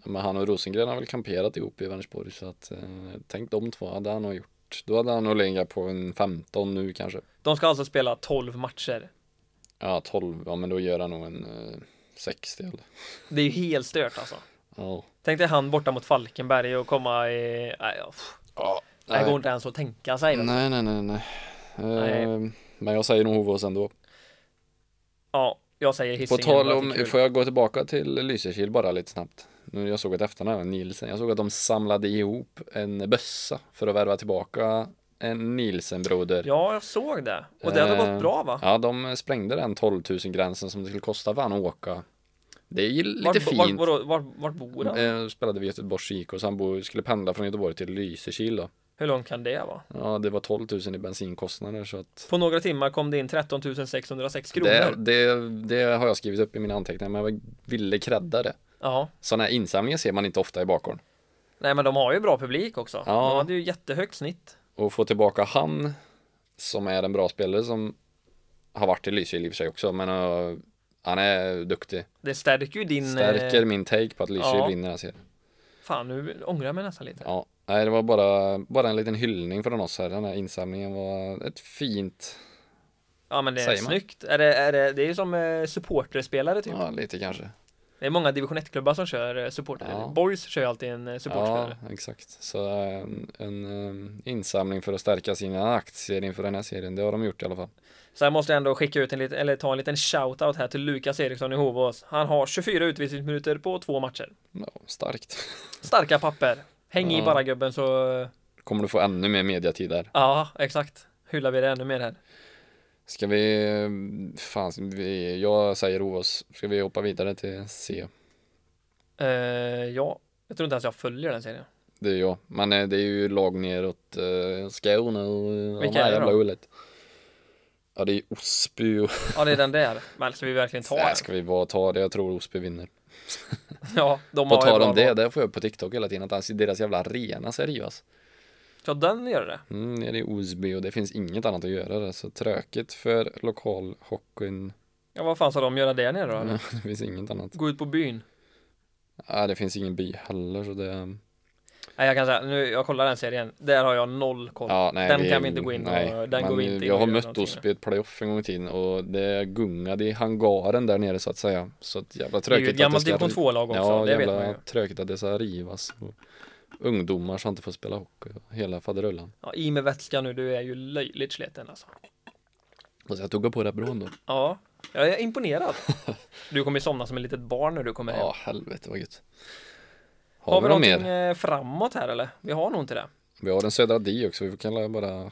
Men han och Rosengren har väl kamperat ihop i Vänersborg så att eh, tänk de två hade han nog gjort. Då hade han nog legat på en 15 nu kanske.
De ska alltså spela 12 matcher.
Ja 12, ja men då gör han nog en eh, 60 eller.
Det är ju helt stört alltså.
Ja.
Tänk dig han borta mot Falkenberg och komma i... Nej, ja, pff.
ja.
det går
Nej.
inte ens att tänka sig. vet du.
nej nej nej nej. Eh, Men jag säger nog Hovås ändå.
Ja, jag säger
På
Hisingen.
tal
bara att det är
om,
kul.
får jag gå tillbaka till Lysekil bara lite snabbt. Nu jag såg ett efternamn, Nielsen. Jag såg att de samlade ihop en bössa för att värva tillbaka en Nielsen-broder.
Ja, jag såg det. Och det hade
Eh,
varit bra va?
Ja, de sprängde den 12 000 gränsen som det skulle kosta för han att åka. Det är ju lite
vart,
fint.
Vart, vart, vart, vart bor han?
Eh, spelade vi Göteborgs IK och han bo- skulle pendla från Göteborg till Lysekil då.
Hur långt kan det vara?
Ja, det var 12 000 i bensinkostnader så att
På några timmar kom det in 13 606 kronor.
det, det, det har jag skrivit upp i mina anteckningar, men jag ville credda det.
Ja.
Sådana här insamlingar ser man inte ofta i bakgården.
Nej, men de har ju bra publik också.
Ja.
De hade ju jättehögt snitt.
Och få tillbaka han som är en bra spelare som har varit i Lysekil i och för sig också, men eh, han är duktig.
Det stärker ju din...
Stärker
Eh,
min take på att Lysekil
ja.
vinner den här serien.
fan, nu ångrar jag mig nästan lite.
Ja, nej det var bara, bara en liten hyllning från oss här. Den här insamlingen var ett fint,
Ja, men det är
Säger man.
snyggt. Är det, är det, det är ju som eh, supporterspelare typ.
ja lite kanske.
Det är många division 1-klubbar som kör eh, supporter.
Ja.
Boys kör ju alltid en eh, supporterspelare.
Ja, exakt. Så eh, en, en eh, insamling för att stärka sina aktier inför den här serien. Det har de gjort i alla fall.
Sen måste jag ändå skicka ut en liten, eller ta en liten shoutout här till Lukas Eriksson i Hovås. Han har 24 utvisningsminuter på två matcher.
Ja, starkt. [LAUGHS]
Starka papper. Häng
Ja.
i bara gubben så, eh,
Kommer du få ännu mer mediatid där.
ja exakt. Hyllar vi det ännu mer här.
Ska vi, eh, fan, vi, jag säger Ovås. Ska vi hoppa vidare till C?
Eh, ja, jag tror inte ens jag följer den serien.
Det är jag. Men eh, det är ju lag neråt eh, Skåne och eh,
Vilka
de här
är det
jävla
då?
ullet. Ja, det är Osby och
Ja, det är den där. Men ska vi verkligen ta
Nej,
den?
ska vi bara ta det? Jag tror Osby vinner.
Ja, de
På
har ju
tal
bra
om det,
lag.
det får jag upp på TikTok hela tiden att alltså, deras jävla arena ska rivas.
Ja, den gör det.
Mm, nere i Osby och det finns inget annat att göra där, så tråkigt för lokalhockeyn
Ja, vad fan ska de göra där nere då?
[LAUGHS]
eller?
Det finns inget annat.
Gå ut på byn?
Nej, det finns ingen by heller så det...
Nej, jag kan säga, nu, jag kollar den serien. Där har jag noll koll.
Ja, nej,
den
det-
kan vi inte gå in och-
nej.
den
Men
går vi inte in
Jag
och
har
gör
mött
någonting
Osby i ett playoff en gång i tiden och det gungade i hangaren där nere så att säga. Så att jävla
det är
tråkigt
ju ett
att det
gammalt
ska...
division 2-lag också,
ja,
det vet
jävla
man ju.
tråkigt att det ska rivas. Och ungdomar som inte får spela hockey och hela faderullan.
Ja, I med vätska nu, du är ju löjligt sliten alltså.
Alltså jag tog på det bra ändå.
Ja, jag är imponerad.
[LAUGHS]
Du kommer ju somna som ett litet barn när du kommer hem.
Ja, helvete vad gött. Har,
Har
vi
vi
något
någonting
mer?
mer? framåt här eller? Vi har nog inte det.
Vi har den södra di också, vi kan bara... Mm,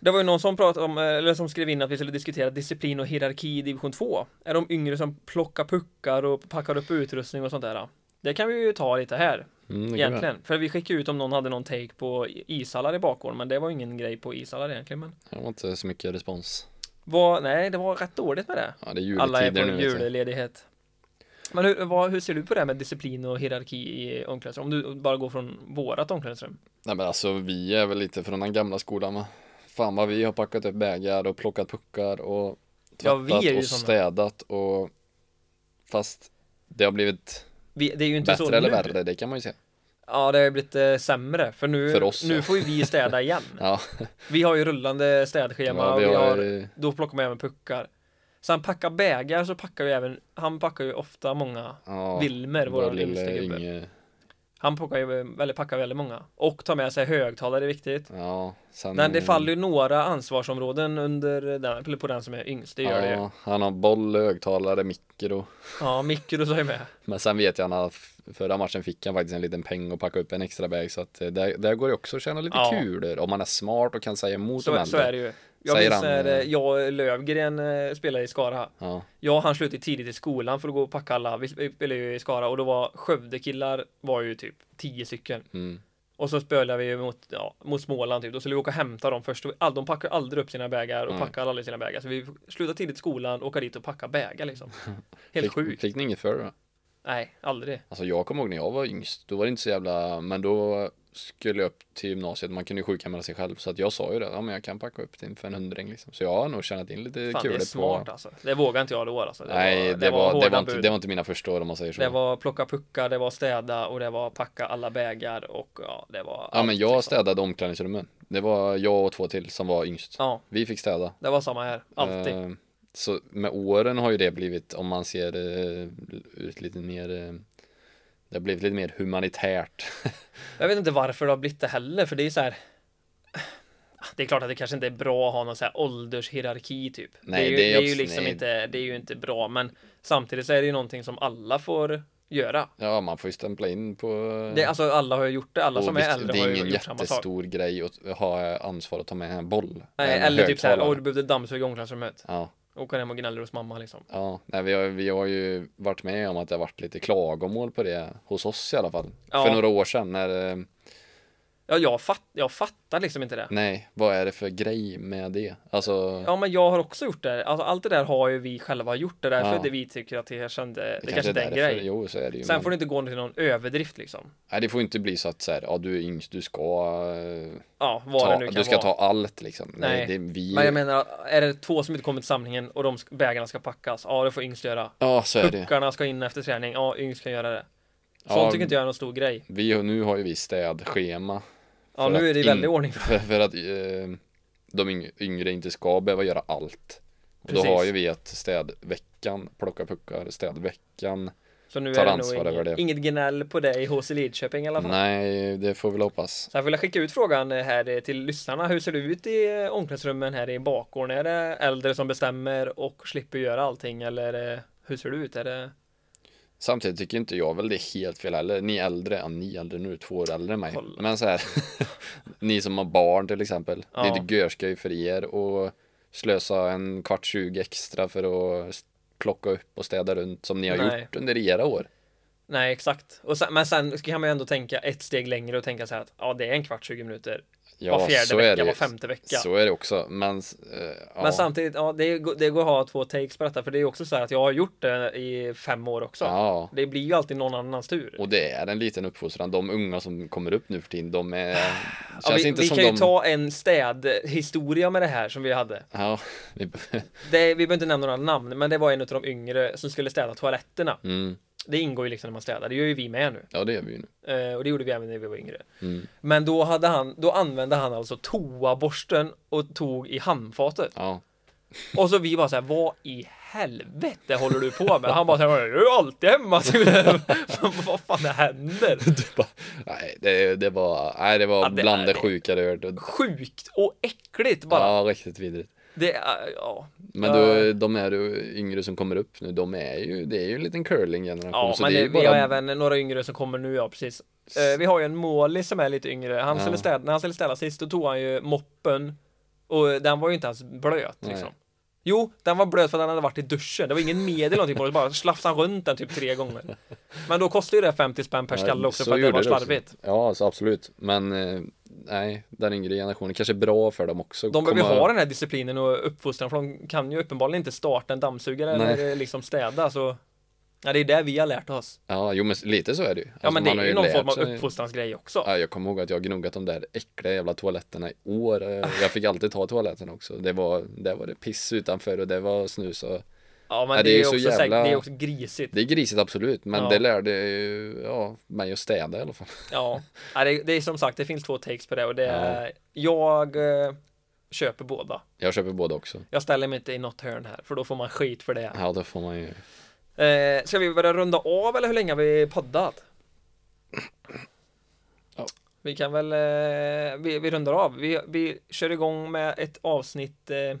Det var ju någon som pratade om, eh, eller som skrev in att vi skulle diskutera disciplin och hierarki i division 2. Är de yngre som plockar puckar och packar upp utrustning och sånt där? Det kan vi ju ta lite här
Mm, det kan vi göra.
egentligen. För vi skickade ut om någon hade någon take på ishallar i bakgården, men det var ju ingen grej på ishallar egentligen. Men
Det var inte så mycket respons.
vad, nej, det var rätt dåligt med det.
Ja, det är
Alla är
juletider nu.
på
Jul.
julledighet. Men hur, vad, hur ser du på det här med disciplin och hierarki i omklädningsrum? Om du bara går från vårat omklädningsrum.
Nej men alltså vi är väl lite från den gamla skolan va? Fan vad vi har packat upp bägar och plockat puckar och
Ja, vi är
tvättat
ju
och
såna.
städat och fast det har blivit
Vi, det är ju inte så
bättre eller
nu.
värre, det kan man ju säga.
Ja, det har ju blivit eh, sämre för nu,
För oss,
nu
ja.
får ju vi städa igen.
[LAUGHS] Ja,
Vi har ju rullande städschema
ja
och vi har,
eh,
då plockar man även puckar. Sen packar bägar så packar ju även, han packar ju ofta många
ja,
Wilmer,
vår
vår yngsta
lille
gubbe.
Inge.
Han packar ju, eh, väldigt, packar väldigt många. Och tar med sig högtalare, är viktigt.
Ja, sen.
Men det faller ju några ansvarsområden under den, eller på den som är yngst, det gör det ju.
Ja, han har boll, högtalare, mikro.
Ja, mikros har ju med.
Men sen vet jag att förra matchen fick han faktiskt en liten peng och packa upp en extra bag så att eh, där, där går det också att tjäna lite
Ja.
kulor om man är smart och kan säga emot de
Så, så
äldre.
är det ju. Jag
Säger
minns
han,
när eh,
eh,
jag Lövgren eh, spelade i Skara.
Ja,
Jag och han slutade tidigt i skolan för att gå och packa alla. Vi spelade ju i Skara och då var Skövdekillar var ju typ 10 stycken.
mm.
Och så spelade vi ju mot, ja, mot Småland typ. Då skulle vi åka och hämta dem först. All, de packar aldrig upp sina bägar och
Nej.
packar aldrig sina bägar. Så vi slutade tidigt i skolan och åka dit och packa
[LAUGHS]
bägar liksom. Helt
fick,
sjukt.
Fick ni inget för det? då?
Nej, aldrig.
Alltså jag kommer ihåg när jag var yngst, då var det inte så jävla, men då skulle jag upp till gymnasiet, man kunde ju sjukanmäla sig själv så att jag sa ju det, ja men jag kan packa upp till för en hundring liksom. Så jag har nog tjänat in lite
Fan, det
kulor
är smart
på...
alltså. Det vågade inte jag då alltså. Det
Nej,
var,
det, var, det,
hårda
var inte,
bud.
det var inte mina första år om man säger så.
Det var plocka puckar, det var städa och det var packa alla bägar och ja, det var
ja
allt,
men jag
liksom.
städade omklädningsrummen. Det var jag och två till som var yngst.
Ja,
Vi fick städa.
det var samma här. Alltid.
Eh, Så med åren har ju det blivit, om man ser det ut lite mer, eh, det har blivit lite mer humanitärt.
Jag vet inte varför det har blivit det heller, för det är så här. Det är klart att det kanske inte är bra att ha någon så här åldershierarki typ.
Nej,
det är
det är
ju, det är ju
abs-
liksom
nej.
inte, det är ju inte bra, men samtidigt så är det ju någonting som alla får göra.
Ja, man får ju stämpla in på...
Det, alltså alla har ju gjort det, alla
och
som
visst,
är äldre
det
har
är
ju
ingen
gjort samma sak.
jättestor grej att ha ansvar att ta med en boll.
Nej,
En
eller typ så här,
högtalare.
åh du behövde dammsuga omklädningsrummet.
Ja,
Åka hem och gnäller hos mamma liksom.
ja. Nej, vi, har, vi har ju varit med om att det har varit lite klagomål på det hos oss i alla fall.
Ja.
För några år sedan när, eh,
Ja, jag, fatt, jag fattar liksom inte det.
nej, vad är det för grej med det? Alltså,
Ja, men jag har också gjort det. Alltså, allt det där har ju vi själva gjort. Det är därför
Ja.
det vi tycker att det, kände, det,
det,
kanske inte är en
därför-
grej.
Jo, så är det ju.
Sen
men-
får det inte gå till någon överdrift liksom.
Nej, det får inte bli så att så här, ja, du är yngst, du ska, eh,
Ja, vad det
ta,
nu kan
du ska
vara.
ta allt liksom. Nej,
Nej,
det, vi,
Men jag menar, är det två som inte kommer till samlingen och de sk- vägarna ska packas, ja det får yngst göra.
ja, så är det.
Puckarna ska in efter träning, ja yngst kan göra det. Sånt
Ja,
tycker inte jag är någon stor grej.
Vi, nu har ju vi städschema [LAUGHS]
Ja,
för
nu
att
är det i
in-
väldig ordning.
För, för att eh, de yng- yngre inte ska behöva göra allt. Och då
Precis.
har ju vi att städveckan, plocka puckar, städveckan.
Så nu
tar
är det nog
ansvar
inget,
över det. Mm.
inget gnäll på det i HC Lidköping i alla fall.
Nej, det får vi väl hoppas.
Sen vill jag skicka ut frågan eh, här eh, till lyssnarna. Hur ser det ut i eh, omklädningsrummen här i bakgården? Är det äldre som bestämmer och slipper göra allting eller eh, hur ser det ut? Är det...
Samtidigt tycker inte jag väl det är helt fel heller. Ni äldre, ja, ni äldre nu, är två år äldre än mig.
Kolla.
Men så här, [LAUGHS] ni som har barn till exempel. Det
Ja.
är inte görskoj för er och slösa en kvart 20 extra för att s- plocka upp och städa runt som ni har
Nej.
gjort under era år.
Nej, exakt. Och sen, men sen kan man ju ändå tänka ett steg längre och tänka så här att ja, det är en kvart, 20 minuter.
Ja,
var fjärde
så är
vecka,
det
var
ju.
femte vecka.
Så är det också, men eh, ja.
Men samtidigt, ja, det, går- det går att ha två takes på detta, för det är också så här att jag har gjort det i fem år också.
Ja,
Det blir ju alltid någon annans tur.
och det är en liten uppfostran. De unga som kommer upp nu för tiden, de är... Känns
Ja, vi
inte
vi
som
kan ju
de...
ta en städhistoria med det här som vi hade.
Ja, [LAUGHS] vi...
Det, vi behöver inte nämna några namn, men det var en av de yngre som skulle städa toaletterna.
mm.
Det ingår ju liksom när man städar, det gör ju vi med nu.
ja, det gör vi ju nu.
Eh, och det gjorde vi även när vi var yngre.
Mm.
Men då, hade han, då använde han alltså toaborsten och tog i handfatet.
Ja,
Och så vi bara så här, vad i helvete håller du på med? Han bara så här, jag är ju alltid hemma. [LAUGHS] typ. vad fan det händer?
[LAUGHS] det var, nej, det, det var, nej, det var
Ja, det-
bland det
det-
sjuka jag hört. Och-
Sjukt och äckligt bara.
Ja, riktigt vidrigt.
Det är, ja.
Men
Ja.
då, de här yngre som kommer upp nu, de är ju, det är ju en liten curling-generation.
Ja,
så
men
det är ju
vi har
bara-
även några yngre som kommer nu, ja precis. Eh, vi har ju en Måli som är lite yngre. Han
Ja.
skulle städa, när han skulle städa sist, då tog han ju moppen. Och den var ju inte ens blöt
Nej.
liksom. Jo, den var blöt för att den hade varit i duschen. Det var ingen medel eller någonting på den, bara slafsade han runt den typ tre gånger. Men då kostar ju det 50 spänn per
Ja,
skalle också
så
för att det
gjorde
var
också.
slarvigt.
Ja, så absolut. Men eh, nej, den yngre generationen kanske är bra för dem också.
De behöver
Komma-
ha den här disciplinen och uppfostran för de kan ju uppenbarligen inte starta en dammsugare
Nej.
eller liksom städa så Ja det är det vi har lärt oss
Ja, jo men lite så är det ju.
Ja
Alltså,
men det
man har
är ju någon
lärt
form av
sig-
uppfostransgrej också
Ja, jag kommer ihåg att jag gnuggat de där äckliga jävla toaletterna i år. Eh, Jag fick alltid ta toaletten också. Det var, där var det piss utanför och det var snus och
Ja men
Ja,
det, är ju
så
också säkert,
jävla-
det är också grisigt
Det är grisigt absolut, men
Ja.
det lärde ju ja, mig att städa i alla fall.
Ja, ja det, det är som sagt det finns två takes på det och det är Jag eh, köper båda
Jag köper båda också.
Jag ställer mig inte i något hörn här för då får man skit för det
Ja, då får man ju.
eh, Ska vi börja runda av eller hur länge har vi poddat?
Ja.
Vi kan väl, eh, vi, vi rundar av. Vi, vi kör igång med ett avsnitt eh,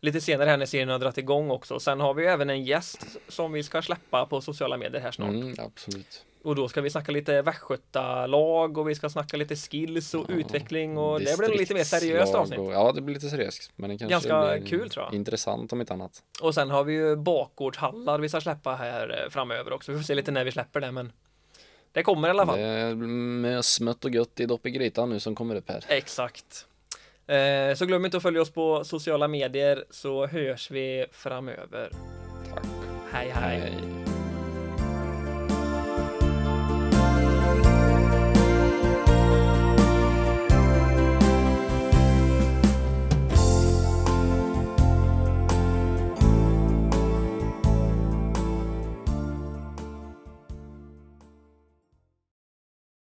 lite senare här när serien har dragit igång också. Sen har vi ju även en gäst som vi ska släppa på sociala medier här snart.
Mm, absolut.
Och då ska vi snacka lite västgötalag och vi ska snacka lite skills och
Ja,
utveckling och det blir nog lite mer seriöst
Distriktslag
avsnitt.
och- ja, det blir lite seriöst. Men det kanske
Ganska
blir
kul, tror jag.
Intressant om inte annat.
Och sen har vi ju bakgårdshallar vi ska släppa här eh, framöver också. Vi får se lite när vi släpper det men det kommer i alla fall.
Det är med smått och gött i dopp i grytan nu som kommer upp här.
Exakt. Eh, Så glöm inte att följa oss på sociala medier så hörs vi framöver.
Tack.
hej. hej.
Hej.